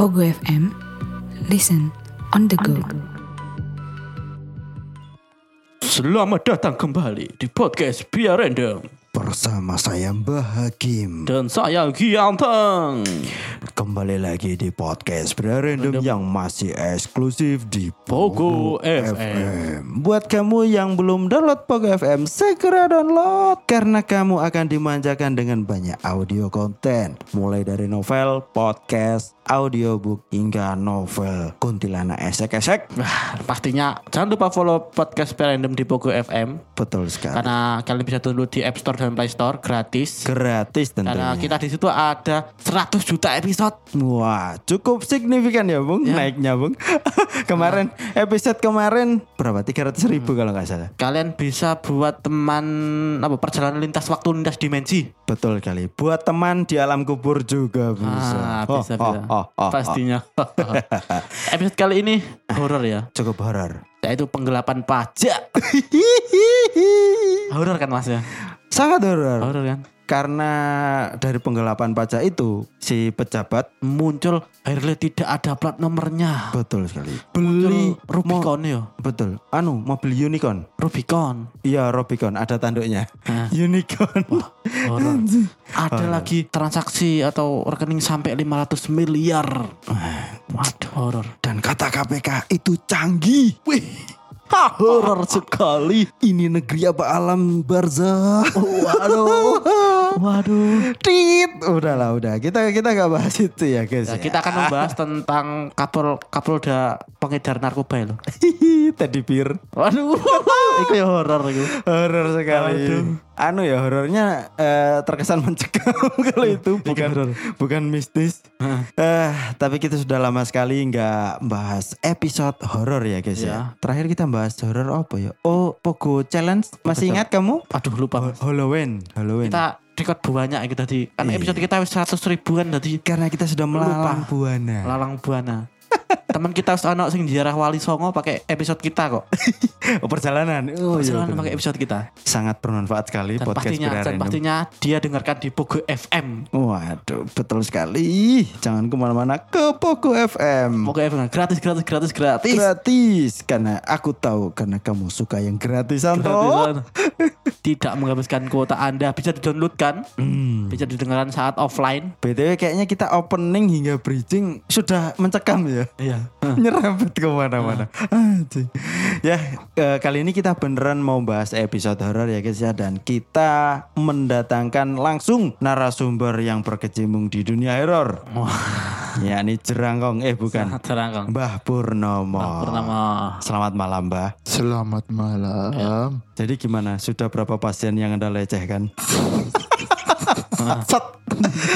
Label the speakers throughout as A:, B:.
A: Ogo FM. Listen on the go.
B: Selamat datang kembali di podcast Biar Random
C: Bersama saya Mbah Hakim
B: dan saya Gianteng.
C: Kembali lagi di podcast Bra Random yang masih eksklusif di
B: Pogo FM.
C: FM Buat kamu yang belum download Pogo FM Segera download Karena kamu akan dimanjakan dengan banyak audio konten Mulai dari novel, podcast, audiobook Hingga novel kuntilanak esek-esek
B: Wah, pastinya jangan lupa follow podcast Biar Random di Pogo FM
C: Betul sekali
B: karena kalian bisa download di App Store dan Play Store gratis.
C: Gratis
B: Karena
C: tentunya
B: kita di situ ada 100 juta episode.
C: Wah, cukup signifikan ya, Bung. Naiknya, Bung. kemarin episode kemarin berapa? 300 ribu kalau nggak salah.
B: Kalian bisa buat teman apa perjalanan lintas waktu lintas dimensi.
C: Betul kali. Buat teman di alam kubur juga
B: Ah,
C: bisa. Oh,
B: bisa
C: oh,
B: bisa.
C: oh, oh, oh.
B: Pastinya. Episode kali ini horor ya.
C: Cukup horor.
B: Yaitu penggelapan pajak. Horor kan Mas ya?
C: Sangat horor.
B: Horor kan?
C: Karena dari penggelapan pajak itu si pejabat
B: muncul akhirnya tidak ada plat nomornya
C: betul sekali.
B: muncul
C: Beli
B: Rubicon yo
C: betul. Anu, mobil unicorn.
B: Rubicon
C: Iya, Robicon ada tanduknya.
B: Hah.
C: unicorn.
B: Ah. horor
C: Oh,
B: ada
C: iya.
B: lagi transaksi atau rekening sampai 500 miliar waduh horor
C: Dan kata KPK itu canggih.
B: wih horor sekali
C: Ini negeri apa alam barzah?
B: Oh, waduh waduh
C: Tit, udahlah udah. Kita kita nggak bahas itu ya guys.
B: Nah,
C: ya.
B: kita akan membahas tentang kapol kapolda pengedar narkoba ya, loh
C: Hihi, teddy bear.
B: waduh itu ya horor itu
C: Horor sekali.
B: Aduh.
C: Anu ya horornya eh, terkesan mencekam kalau
B: Iya,
C: itu bukan
B: horor.
C: bukan mistis. Eh, tapi kita sudah lama sekali nggak bahas episode horor ya guys
B: Ya.
C: ya. Terakhir kita bahas horor apa ya? Oh, Pogo Challenge. Masih ingat kamu?
B: aduh lupa Mas.
C: Halloween, Halloween.
B: kita record banyak itu tadi karena
C: Iya.
B: episode kita wis 100 ribuan tadi
C: karena kita sudah melalang
B: Lupa.
C: buana.
B: Lalang Buana. Teman kita harus ono sing ziarah Wali Songo pakai episode kita kok.
C: Oh, perjalanan. Oh, iya,
B: Jangan
C: benar.
B: pakai episode kita.
C: sangat bermanfaat sekali
B: Dan
C: podcast
B: pastinya
C: Bira
B: dan
C: Random.
B: pastinya dia dengarkan di Pogo FM.
C: Waduh, betul sekali. Jangan kemana-mana ke Poco FM.
B: Pogo FM gratis gratis gratis gratis.
C: Gratis, karena aku tahu karena kamu suka yang gratisan toh.
B: Gratisan. Tidak menghabiskan kuota Anda bisa di-download kan? Bisa didengarkan saat offline.
C: BTW kayaknya kita opening hingga bridging sudah mencekam ya.
B: Iya.
C: Nyerempet kemana-mana. Anjing. ya, eh, kali ini kita beneran mau bahas episode horor ya guys ya. Dan kita mendatangkan langsung narasumber yang berkecimpung di dunia horor. Ya, ini jerangkong. Eh, bukan.
B: Terangkan.
C: Mbah Purnomo.
B: Purnama.
C: Selamat malam, Mbah.
D: Selamat malam.
C: Jadi gimana? Sudah berapa pasien yang Anda lecehkan? Sat.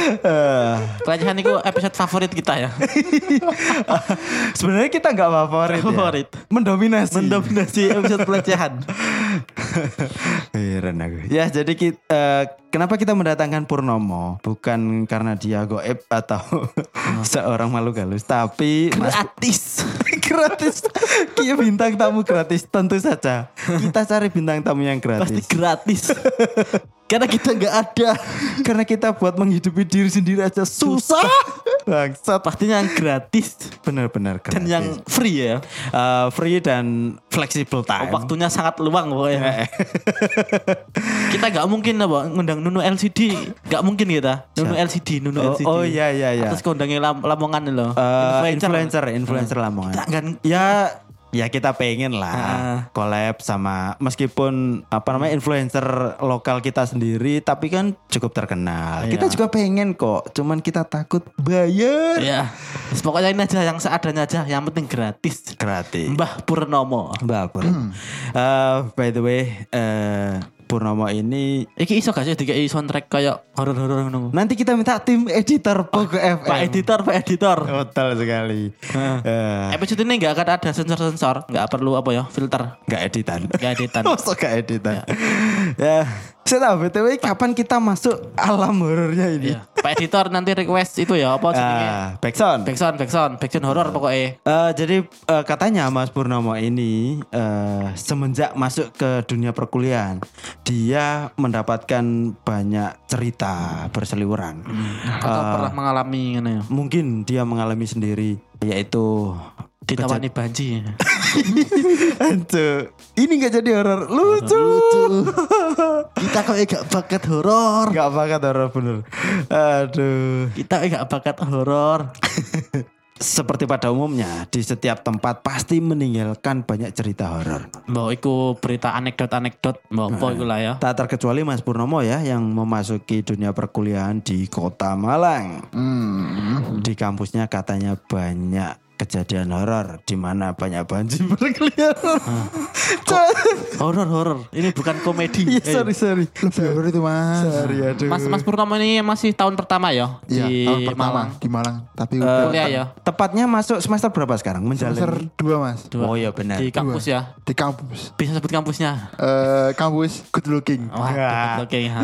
C: Eh,
B: Pelecehan itu episode favorit kita ya.
C: Sebenarnya kita nggak favorit, ya.
B: Favorit.
C: Mendominasi.
B: Mendominasi episode pelecehan.
C: Heran aku. Ya, jadi kita, eh, kenapa kita mendatangkan Purnomo? Bukan karena dia goib atau seorang makhluk halus, tapi Mas-
B: Hmm. Gratis.
C: gratis. Kia bintang tamu gratis tentu saja. Kita cari bintang tamu yang
B: Pasti
C: gratis.
B: gratis. Karena kita nggak ada.
C: Karena kita buat menghidupi diri sendiri aja susah. Bangsat.
B: Pastinya yang gratis.
C: Benar-benar gratis.
B: dan yang free ya.
C: Eh, free dan fleksibel time. Eh,
B: Waktunya sangat luang pokoknya. kita nggak mungkin apa ngundang Nunu LCD, nggak mungkin kita. Nunu LCD, Nunu
C: Oh,
B: LCD.
C: oh, iya, iya, iya.
B: Terus kondangnya lam Lamongan loh.
C: Eh, influencer, Nah, influencer Lamongan.
B: Kita kan
C: Ya, ya kita
B: Ah.
C: pengen lah collab sama meskipun apa namanya influencer lokal kita sendiri, tapi kan cukup terkenal. Kita
B: Iya.
C: juga pengen kok, cuman kita takut bayar
B: ya. Terus pokoknya ini aja yang seadanya aja, yang penting gratis.
C: gratis.
B: Mbah Purnomo.
C: Mbak Pur. Eh, by the way, eh, Purnomo ini
B: Iki iso gak sih dikai soundtrack kayak horor-horor ngono.
C: nanti kita minta tim editor Pogo FM.
B: Pak editor, Pak editor.
C: Total Oh, sekali. Eh,
B: Episode ini nggak akan ada sensor-sensor, nggak perlu apa ya filter,
C: nggak editan.
B: nggak editan.
C: Masa gak editan. ya. Saya tahu BTW kapan kita masuk alam horornya ini.
B: Iya. Pak editor nanti request itu ya apa jenenge?
C: Ah, backsound.
B: Backsound, backsound, backsound horror pokoknya.
C: Eh, jadi eh, katanya Mas Purnomo ini eh, semenjak masuk ke dunia perkuliahan dia mendapatkan banyak cerita berseliweran.
B: Atau pernah mengalami ngene ya.
C: Mungkin dia mengalami sendiri yaitu
B: Ditawani banji. ya?
C: Hancur. ini nggak jadi horor lucu.
D: Kita kok gak bakat horor.
C: Nggak banget horor bener. Aduh.
B: Kita enggak bakat horor.
C: Seperti pada umumnya di setiap tempat pasti meninggalkan banyak cerita horor.
B: Mbok iku berita anekdot-anekdot mbok apa iku lah ya.
C: Tak terkecuali Mas Purnomo ya yang memasuki dunia perkuliahan di Kota Malang.
D: Hmm.
C: Di kampusnya katanya banyak kejadian horor di mana banyak banjir berkeliaran. Coy,
B: Horor, horor. Ini bukan komedi. Eh.
C: Iya, sorry sorry.
D: Lebih horor itu mas.
C: Sorry aduh.
B: Mas Mas Purnomo ini masih tahun pertama ya
D: Iya,
B: di
D: tahun pertama
B: Malang.
D: di Malang.
C: Eh,
D: Tapi udah
C: iya,
B: Kuliah ya.
C: Tepatnya masuk semester berapa sekarang?
D: semester
C: Menjalani.
D: 2 mas.
B: Dua.
C: Oh iya benar.
B: Di kampus ya.
D: Di kampus.
B: Bisa sebut kampusnya.
D: Eh, kampus good looking.
B: Wah,
C: Wah.
B: oke. ha.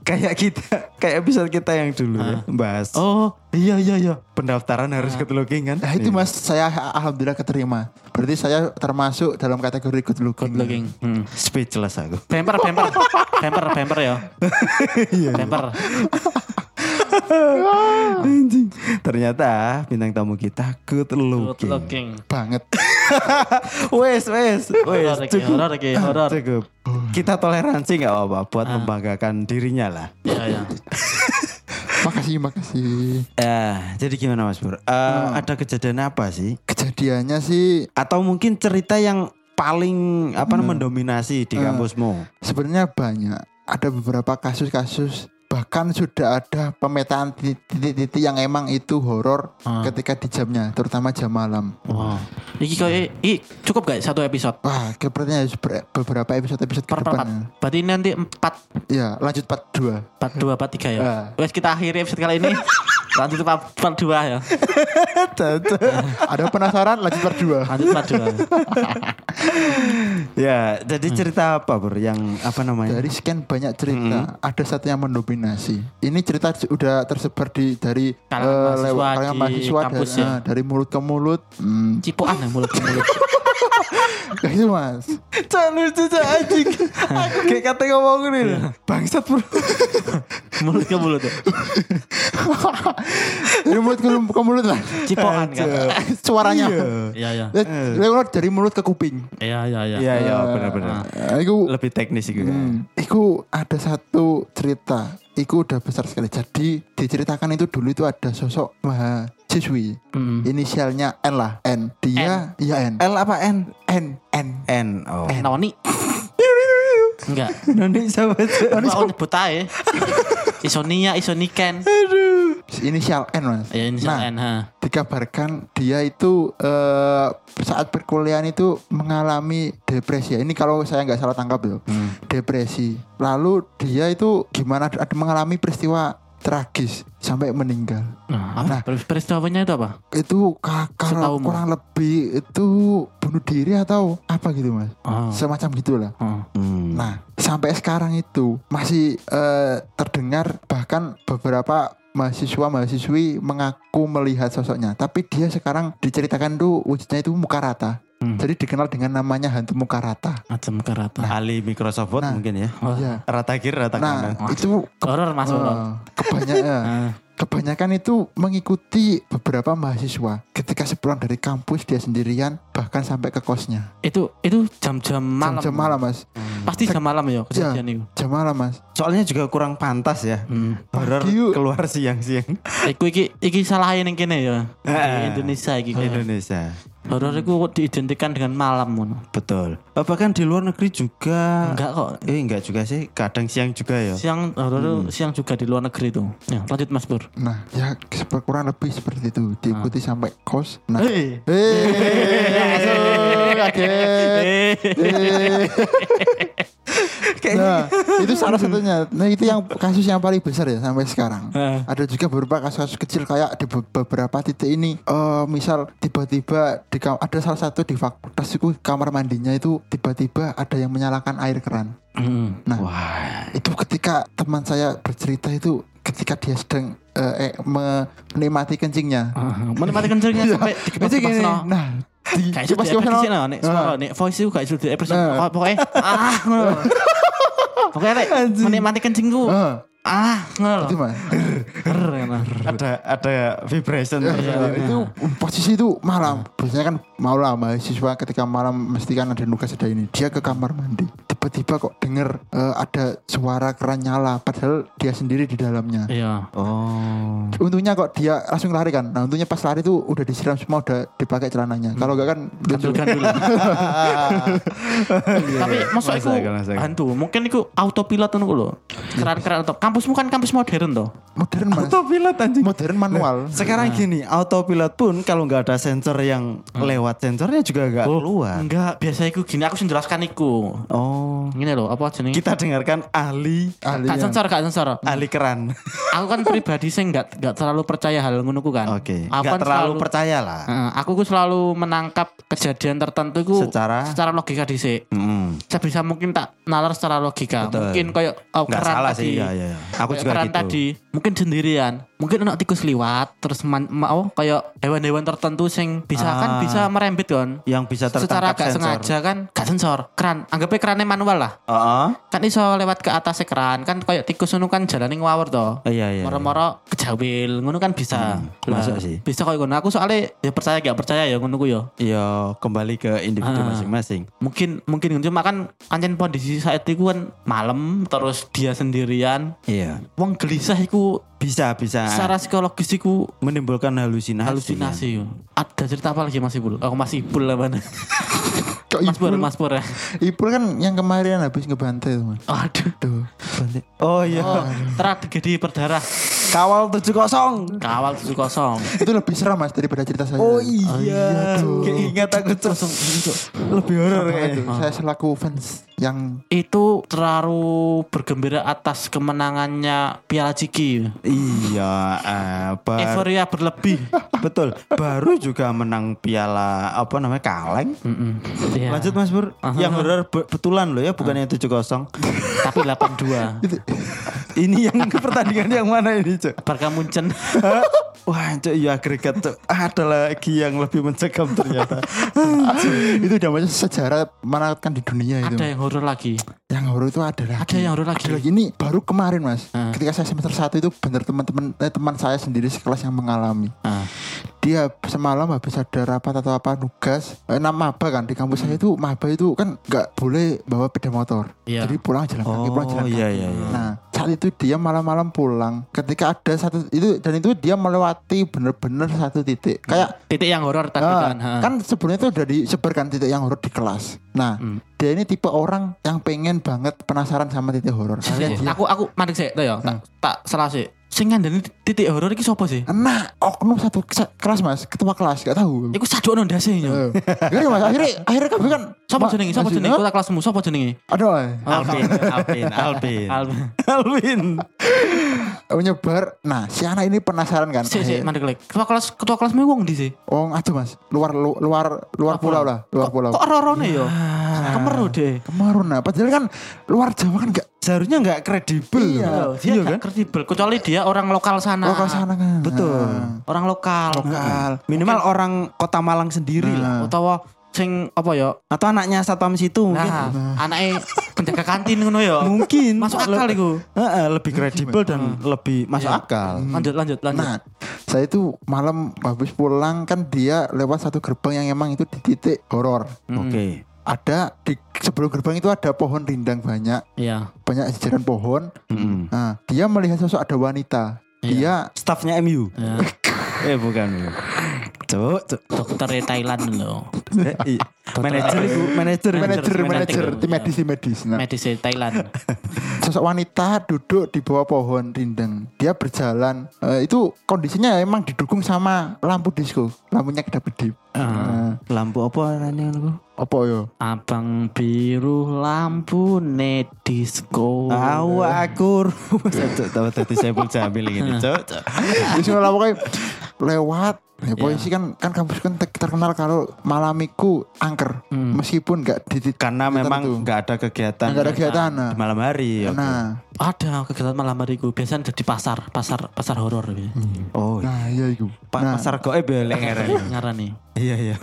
C: kayak kita kayak episode kita yang dulu ya, bahas.
B: Oh,
C: iya iya iya. Pendaftaran harus ke looking kan?
D: Nah, itu
B: iya.
D: mas saya alhamdulillah keterima. Berarti saya termasuk dalam kategori good looking.
B: good looking. Hmm.
C: Speechless aku.
B: Bemper, bemper, bemper, bemper ya. Bemper.
C: Anjing. Ternyata bintang tamu kita Ah. good
B: Good
C: looking.
B: looking.
D: banget.
C: Wes wes wes.
B: Horor iki,
C: Cukup.
B: horor iki, horor.
C: Cukup. Kita toleransi nggak apa-apa buat membanggakan dirinya lah.
B: Iya, iya.
D: makasih makasih.
C: Eh, jadi gimana Mas Bur? Eh, Ada kejadian apa sih?
D: Kejadiannya sih
C: Atau mungkin cerita yang paling apa mendominasi di kampusmu?
D: sebenarnya banyak. Ada beberapa kasus-kasus bahkan sudah ada pemetaan titik-titik yang emang itu horor
B: Ah.
D: ketika di jamnya, terutama jam malam.
B: Wah. Iki kok i cukup gak satu episode?
D: Wah, kayaknya harus ber- beberapa episode-episode ke
B: Per per- empat.
D: depan.
B: Berarti nanti empat,
D: Ya, lanjut part 2.
B: part dua, part tiga ya.
D: Ah.
B: Wes kita akhiri episode kali ini. Lanjut ke part, part dua ya.
D: Ada penasaran lanjut part 2.
B: Lanjut part dua.
C: Ya, jadi cerita apa Bur yang apa namanya?
D: Dari sekian banyak
B: Hmm.
D: cerita, ada satu yang mendominasi. Ini cerita sudah tersebar di dari
B: Kalangan
D: eh,
B: mahasiswa
D: lewat
B: di
D: kalangan mahasiswa
B: kampus
D: dari,
B: ya.
D: eh, dari mulut ke mulut. Hmm,
B: Cipuan ya mulut ke mulut.
D: kayak gitu, Mas.
C: Cak lucu cak anjing. Aku kayak kata ngomong ini. Bangsat Bro.
B: Mulut ke mulut ya.
D: dari mulut ke, ke mulut lah. Eh,
B: Cipokan kan.
D: Suaranya.
B: Iya, iya.
D: Eh, Lewat dari mulut ke kuping.
B: Iya, iya, iya.
C: Iya, iya benar-benar.
D: Eh, Itu
C: Lebih teknis sih gue.
D: Hmm, Iku ada satu cerita. Iku udah besar sekali. Jadi diceritakan itu dulu itu ada sosok mahasiswi.
B: Mm.
D: Inisialnya N lah. N. Dia iya N.
C: L apa N?
D: N. N.
C: N. Oh.
B: Eh, Noni. Enggak.
C: Noni siapa Cak?
B: Mau nyebut aja. Isonia, Isoniken.
D: Inisial N mas.
B: Ya ini
D: nah,
B: nah. ha.
D: dikabarkan dia itu eh, saat perkuliahan itu mengalami depresi. Ini kalau saya nggak salah tangkap loh. Depresi. Lalu dia itu gimana? Ada mengalami peristiwa tragis sampai meninggal.
B: Nah, apa? peristiwanya itu apa?
D: itu ka- kalau
B: Setahumu.
D: kurang lebih itu bunuh diri atau apa gitu mas
B: Oh.
D: semacam gitulah
B: Oh.
C: Hmm.
D: nah sampai sekarang itu masih eh, terdengar bahkan beberapa mahasiswa mahasiswi mengaku melihat sosoknya tapi dia sekarang diceritakan tuh wujudnya itu muka rata
B: Hmm.
D: jadi dikenal dengan namanya hantu muka rata
B: Macam kerata.
C: Ali Microsoft Word
D: Nah.
C: mungkin ya.
B: Oh.
D: ya
C: Rata kiri rata kanan.
D: nah itu
B: Horor
D: Oh.
B: mas horor.
D: kebanyakan
B: Ah.
D: Kebanyakan itu mengikuti beberapa mahasiswa ketika sepulang dari kampus dia sendirian bahkan sampai ke kosnya.
B: itu itu jam-jam malam.
D: Jam, jam malam mas,
B: Pasti jam malam ya kejadian itu.
D: jam malam mas.
C: Soalnya juga kurang pantas ya.
B: Hmm.
C: Horor
D: Pagi yuk.
C: keluar siang-siang.
B: Iku iki iki salahin yang kene ya.
C: Ah.
B: Di Indonesia iki.
C: Indonesia.
B: Horor iku kok diidentikan dengan malam ngono.
C: Betul. Eh, Bahkan di luar negeri juga.
B: Enggak kok.
C: Eh enggak juga sih, kadang siang juga ya.
B: Siang horor siang juga di luar negeri itu. Ya, lanjut Mas Bur.
D: Nah ya seper- kurang lebih seperti itu diikuti sampai kos. Nah, Eh,
B: Hei.
D: Hei, langsung kaget.
B: Eh.
D: Hei. Nah, itu salah satunya. Nah, itu yang kasus yang paling besar ya sampai sekarang.
B: Heeh.
D: Ada juga beberapa kasus-kasus kecil kayak di be- beberapa titik ini. Eh, misal tiba-tiba di kam- ada salah satu di fakultas itu kamar mandinya itu tiba-tiba ada yang menyalakan air keran. Nah, itu ketika teman saya bercerita itu ketika dia sedang eh, eh, menikmati kencingnya.
B: Ah. Menikmati kencingnya Iya. sampai
D: Itu Iya. gini.
B: dikepas-kepas no.
D: Nah, di
B: Kayak sudah
D: kipas-kipas no.
B: depresi no, nek suara nek voice itu kayak sudah depresi.
D: Nah.
B: Pokoknya ah ngono. Pokoknya nek menikmati kencingku.
D: Eh,
B: Ah ngono.
D: itu mah.
B: iya.
C: ada ada vibration
D: Iya, itu posisi itu malam biasanya kan malam mahasiswa ketika malam mesti kan ada nugas ada ini dia ke kamar mandi tiba-tiba kok denger eh, ada suara keran nyala padahal dia sendiri di dalamnya
B: Iya.
C: Oh.
D: untungnya kok dia langsung lari kan nah untungnya pas lari tuh udah disiram semua udah dipakai
B: Hmm.
D: celananya kalau enggak kan lucu.
B: Gandul-gandul. Tapi maksud
C: Iya, Masuk
B: aku
C: akal, masuk akal.
B: hantu, mungkin aku autopilot ngono lho. Keran-keran atau kampusmu kan kampus modern toh.
D: modern mas
C: Autopilot anjing.
D: modern manual
B: Nah,
C: Sekarang gini, autopilot pun kalau nggak ada sensor yang lewat sensornya juga nggak keluar.
B: Enggak, biasa iku gini aku sing jelaskan iku.
C: Oh.
B: Ngene lho, apa jenenge?
C: Kita dengarkan ahli
D: ahli
B: Gak
D: yang-
B: sensor, gak sensor.
C: ahli keran.
B: Aku kan pribadi sih nggak nggak terlalu percaya hal ngono ku kan.
C: Oke.
B: Aku
C: Nggak
B: kan
C: terlalu
B: selalu-
C: percaya lah.
B: Heeh, aku ku selalu menangkap kejadian tertentu ku
C: Secara-
B: secara logika dhisik.
C: Hmm.
B: Sebisa mungkin tak nalar secara logika.
C: Betul.
B: Mungkin kayak oh,
C: Nggak
B: keran
C: salah
B: tadi.
C: sih. Iya, iya, iya. Aku
B: Kayak
C: juga
B: keran
C: gitu.
B: tadi mungkin sendirian, mungkin anak tikus liwat terus man, mau kayak hewan-hewan tertentu sing bisa kan
C: Ah.
B: bisa merembet kan.
C: Yang bisa
B: Secara
C: tertangkap
B: gak
C: sensor.
B: sengaja kan gak sensor. Keran, anggapnya kerannya manual lah.
C: Heeh.
B: Kan iso lewat ke atas keran kan kayak tikus ngono kan jalane ngawur toh.
C: Iya, iya.
B: moro-moro kejawil ngono kan bisa
C: Hmm, masuk sih.
B: bisa kok ngono aku soalnya ya percaya gak percaya ya ngono ku ya
C: Iya, kembali ke individu
B: Ah.
C: masing-masing.
B: mungkin mungkin ngono. cuma kan kancen kondisi saat itu kan malam terus dia sendirian
C: Iya.
B: wong gelisah iku
C: Bisa bisa
B: secara psikologis iku
C: menimbulkan halusinasi.
B: halusinasi yo. ada cerita apa lagi Mas Ibul aku Mas Ibul lah mana
D: Kok
B: Mas Pur
D: Ipul,
B: Mas Pur ya
D: Ipul kan yang kemarin habis ngebantai teman
B: aduh
D: tuh
C: Oh iya.
B: oh, tragedi berdarah
C: Kawal 70.
B: kawal tujuh kosong
D: itu lebih seram mas daripada cerita saya
C: Oh iya.
D: tuh.
C: Keingat aku Cuk. Lebih horor
D: Apa
C: kayaknya.
D: itu?
B: Ah.
D: saya selaku fans yang
B: itu terlalu bergembira atas kemenangannya Piala Ciki
C: Iya, apa?
B: euforia berlebih
C: Betul. Baru juga menang piala apa namanya? Kaleng.
B: Iya.
C: Lanjut Mas Bur. Yang horor be- betulan loh ya, bukan yang 70.
B: tapi 82
C: ini yang pertandingan yang mana ini, Cuk?
B: Barca Munchen
C: Wah, Cuk, ya agregat, Cuk. Ada lagi yang lebih mencekam ternyata.
D: itu udah masuk sejarah menakutkan di dunia itu.
B: ada yang horor lagi
D: Yang horor itu ada lagi.
B: ada yang horor lagi
D: Ada lagi. Ini baru kemarin mas.
B: Hmm.
D: Ketika saya semester 1 itu bener teman-teman eh, teman saya sendiri sekelas yang mengalami.
B: Ah,
D: Dia semalam habis ada rapat atau apa nugas. Eh, nah, maba kan di kampus
B: Hmm.
D: saya itu maba itu kan nggak boleh bawa sepeda motor.
B: Iya.
D: Jadi pulang jalan kaki, pulang jalan
C: Oh,
D: kaki.
C: iya iya iya.
B: Hmm.
D: Nah saat itu dia malam-malam pulang. Ketika ada satu itu dan itu dia melewati bener-bener satu titik. Kayak
B: titik yang horor tadi
D: Ah,
B: kan ah.
D: kan sebelumnya itu udah disebarkan titik yang horor di kelas. Nah,
B: Hmm.
D: dia ini tipe orang yang pengen banget penasaran sama titik horor.
B: Jadi,
D: Kalian dia-
B: aku aku mandek sih tuh ya
D: Hmm.
B: tak, tak salah sih sing ngandani titik horor iki sapa sih
D: Nah, oknum satu ke- kelas mas, ketua kelas gak tahu.
B: Iku sadok no ndase
D: Eh,
B: nyo.
D: Gak ada, mas, akhirnya akhirnya kan kan
B: Sapa
D: Ma-
B: jenenge? Sapa
D: Mas
B: jenenge?
D: Yunus,
B: Kota kelasmu sapa jenenge?
D: Aduh, eh,
B: Ah.
C: Alvin, Alvin,
D: Iya.
C: Alvin.
B: Alvin.
C: Alvin.
D: eh, menyebar. Nah, si anak ini penasaran kan.
B: Sik sik
D: Akhirnya-
B: mandek lek. Ketua kelas ketua kelasmu wong ndi sih?
D: Oh, aduh mas, luar lu- luar luar pulau lah, Iya. luar pulau.
B: Kok rorone yo? Kemeru deh.
D: Kemarin nah, padahal kan luar Jawa kan gak
C: Seharusnya nggak kredibel. kan?
D: Iya.
C: loh.
B: Loh, Dia gak kredibel kecuali dia orang lokal sana.
D: lokal sana kan.
C: Betul.
B: Orang lokal. Hmm.
D: Lokal.
C: Minimal orang Kota Malang sendiri lah.
B: Utawa sing apa ya?
C: Atau anaknya satpam situ mungkin.
B: Nah, anaknya penjaga kantin ngono ya.
C: Mungkin.
B: Masuk akal
C: Le-
B: iku.
C: Heeh, lebih kredibel Iya. dan lebih masuk akal.
B: Lanjut lanjut lanjut.
D: Nah, saya itu malam habis pulang kan dia lewat satu gerbang yang emang itu di titik horor.
C: Oke.
D: Ada di sebelum gerbang itu ada pohon rindang banyak,
B: Iya.
D: banyak jajaran pohon.
C: Mm-mm.
D: Nah, dia melihat sosok ada wanita. Dia
C: Staffnya MU.
B: Iya.
C: eh Ya. bukan. Cuk, cuk.
D: Nah.
B: Dokter e Thailand loh.
C: Eh, i- manajer iku, manajer iku.
D: manajer manajer
B: manajer.
D: tim medis tim medis nah
B: medis dari Thailand
D: sosok wanita duduk di bawah pohon rindang dia berjalan Eh, itu kondisinya emang didukung sama lampu disco lampunya kedap-kedip
C: Ah.
D: Nah,
C: lampu apa arane ngono ku?
D: apa ya? yo
B: abang biru lampu nedisco
C: Tahu aku Oh. Ah. Cuk, tahu tadi saya pun jamil gini cuk cuk.
D: Terus ngono Ya, lah pokoknya lewat Ya, polisi kan kan kampus kan te- terkenal kalau malamiku angker meskipun nggak di
C: karena
D: tuh.
C: memang nggak ada kegiatan
D: nggak ada kegiatan nah,
C: di malam hari ya.
D: nah,
B: ada kegiatan malam hariku biasanya ada di pasar pasar pasar horor gitu.
C: oh
D: nah iya itu
C: pa-
D: nah,
C: pasar goib ya lek ngarani.
B: ngaran nih
D: Hmm.
C: iya iya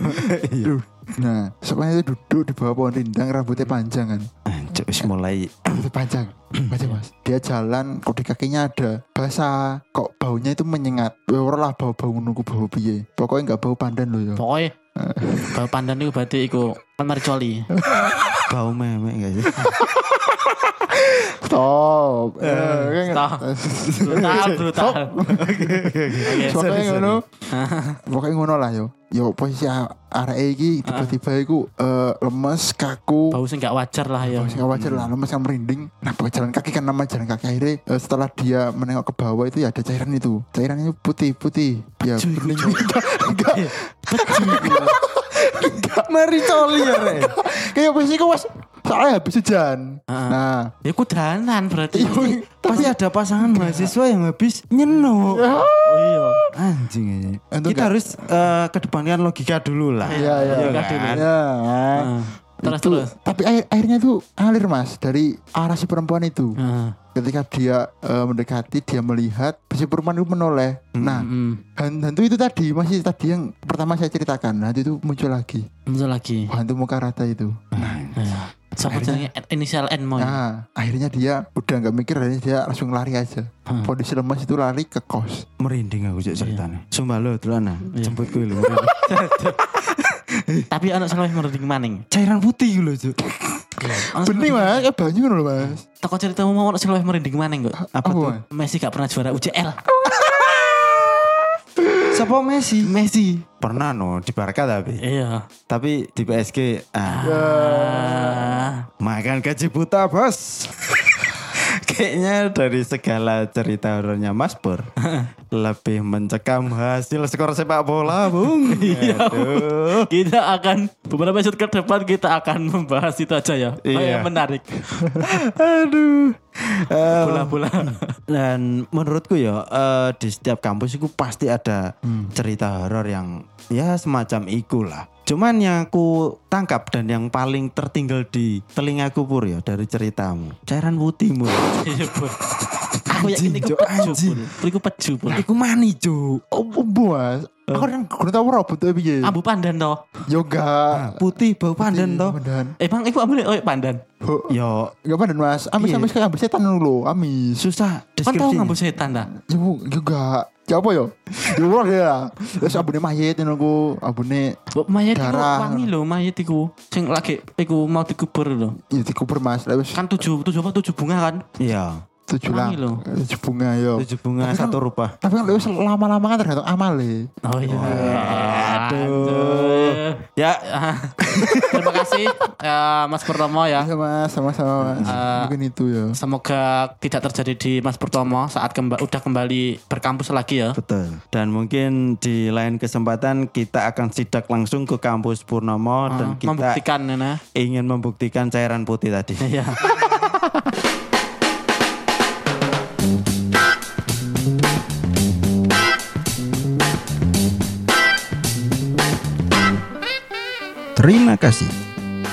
C: iya
D: duh. nah soalnya itu duduk di bawah pohon rindang rambutnya panjang kan
C: Cuk, wis mulai
D: rambutnya panjang panjang mas dia jalan kok di kakinya ada basah kok baunya itu menyengat Ya, ora lah bau bau nunggu bau piye pokoknya nggak bau pandan loh ya
B: pokoknya bau pandan itu berarti iku kan marcoli
C: bau memek enggak sih
D: stop Eh, kan-
B: stop.
D: Iya,
B: brutal brutal Oke,
D: Pokoknya ngono. Pokoknya ngono lah yo. Yo posisi a- arek iki tiba-tiba iku eh, lemes, kaku.
B: Ah. bau sih nggak wajar lah ya
D: Sing wajar lah lemes kan merinding. Nah, pakai jalan kaki kan nama jalan kaki akhirnya eh, setelah dia menengok ke bawah itu ya ada cairan itu. Cairan itu putih-putih. Ya bening. Enggak.
C: mari coli ya Rek.
D: Kayak posisi iku wes soalnya habis hujan. Nah, iya,
B: ya kudanan berarti
D: iyo,
C: pasti ada pasangan mahasiswa yang habis nyenuk
B: oh iya
C: anjing aja.
D: Untuk
C: kita
D: gak-
C: harus eh, kedepankan logika dulu lah
D: Iya, iya.
C: kan?
D: Ya.
B: Ah. terus
D: Itu-
B: terus
D: Tapi air, airnya itu alir mas dari arah si perempuan itu.
B: Ah,
D: ketika dia eh, mendekati dia melihat si perempuan itu menoleh
C: Hmm.
D: nah
B: mm.
D: han- hantu itu tadi masih tadi yang pertama saya ceritakan hantu itu muncul lagi
B: muncul lagi Iya.
D: hantu muka rata itu
B: Siapa jenenge inisial N
C: Oh, iya.
B: mau ya?
D: nah akhirnya dia udah nggak mikir akhirnya dia langsung lari aja
B: Hmm.
D: kondisi lemas itu lari ke kos
C: merinding aku cek ceritanya sumpah lo dulu nah jemput gue lho
B: Tapi anak sing luwih merinding maning.
C: cairan putih lho cuk
D: bening mas eh banyu loh mas
B: Teko ceritamu mau anak sing luwih merinding maning kok.
C: apa tuh
D: Mas?
B: Messi gak pernah juara UCL.
C: siapa Messi Messi pernah no di Barca tapi
B: Iya.
C: tapi di PSG ah,
B: Ah,
C: Makan gaji buta bos Kayaknya dari segala cerita horornya Mas Pur Lebih mencekam hasil skor sepak bola Bung Aduh.
B: kita akan beberapa episode ke depan kita akan membahas itu aja ya.
C: Iya.
B: Iya. menarik.
C: Aduh Eh,
B: Bola-bola.
C: Dan menurutku ya eh, Di setiap kampus itu pasti ada cerita horor yang Ya semacam iku lah Cuman yang aku tangkap dan yang paling tertinggal di telingaku Pur ya dari ceritamu Cairan putihmu
B: Iya, Bun. Aku yakin
C: Anjing,
B: iku
C: Cok,
B: peju,
C: anjing.
B: Bun. Iku peju, Bun.
C: Iku mani Cuk. Eh.
D: oh oh, mas aku yang kurang tahu robot tapi ya
B: Ambu pandan toh.
D: yoga iya,
C: putih bau pandan Ah, toh
D: pandan
B: Emang iku ambu oh, pandan.
D: Ho,
C: yo
D: nggak pandan mas amis
C: Iya,
D: amis kayak amis setan dulu amis
C: susah
B: Kan tau
C: deskripsinya
B: ngambu setan ta?
D: Yo juga. Ya apa yo? Yo ora ya. Terus abune mayit ngono ku, abune
B: Mbok Mayit iku
D: Darah.
B: wangi lho, mayit iku. Sing lagi iku mau dikubur lho.
D: ya dikubur Mas. Lah wis
B: Kan tujuh tujuh apa tujuh bunga kan?
C: iya
D: tujuh lang.
B: wangi lho.
D: Tujuh bunga yo.
C: tujuh bunga satu rupa
D: Tapi kan wis lama-lama kan tergantung amale.
B: Oh iya. Aduh.
C: ya
B: Terima kasih eh, Mas Purnomo ya.
D: Iya Mas, sama-sama Mas.
B: Ah.
D: Mungkin itu ya.
B: Semoga tidak terjadi di Mas Purnomo saat kemba- udah kembali berkampus lagi ya.
C: betul dan mungkin di lain kesempatan kita akan sidak langsung ke kampus Purnomo dan
B: Ah,
C: kita
B: Membuktikan ya.
C: ingin membuktikan cairan putih tadi
B: Iya.
C: terima kasih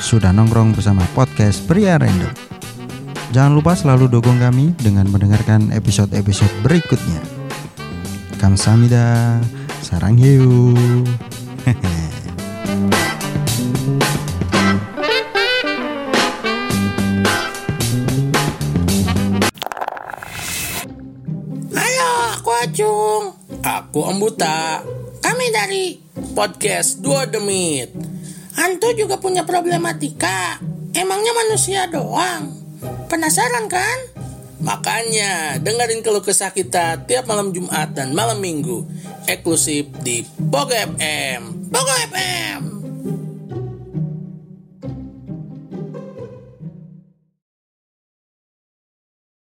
C: sudah nongkrong bersama podcast pria random jangan lupa selalu dukung kami dengan mendengarkan episode-episode berikutnya Kamsahamnida sarang hiu
E: Halo, aku Acung. Aku Embuta. Kami dari podcast Dua Demit. Hantu juga punya problematika. Emangnya manusia doang? Penasaran kan? Makanya dengerin keluh kesah kita tiap malam Jumat dan malam Minggu eksklusif di Pogo FM. Pogo FM.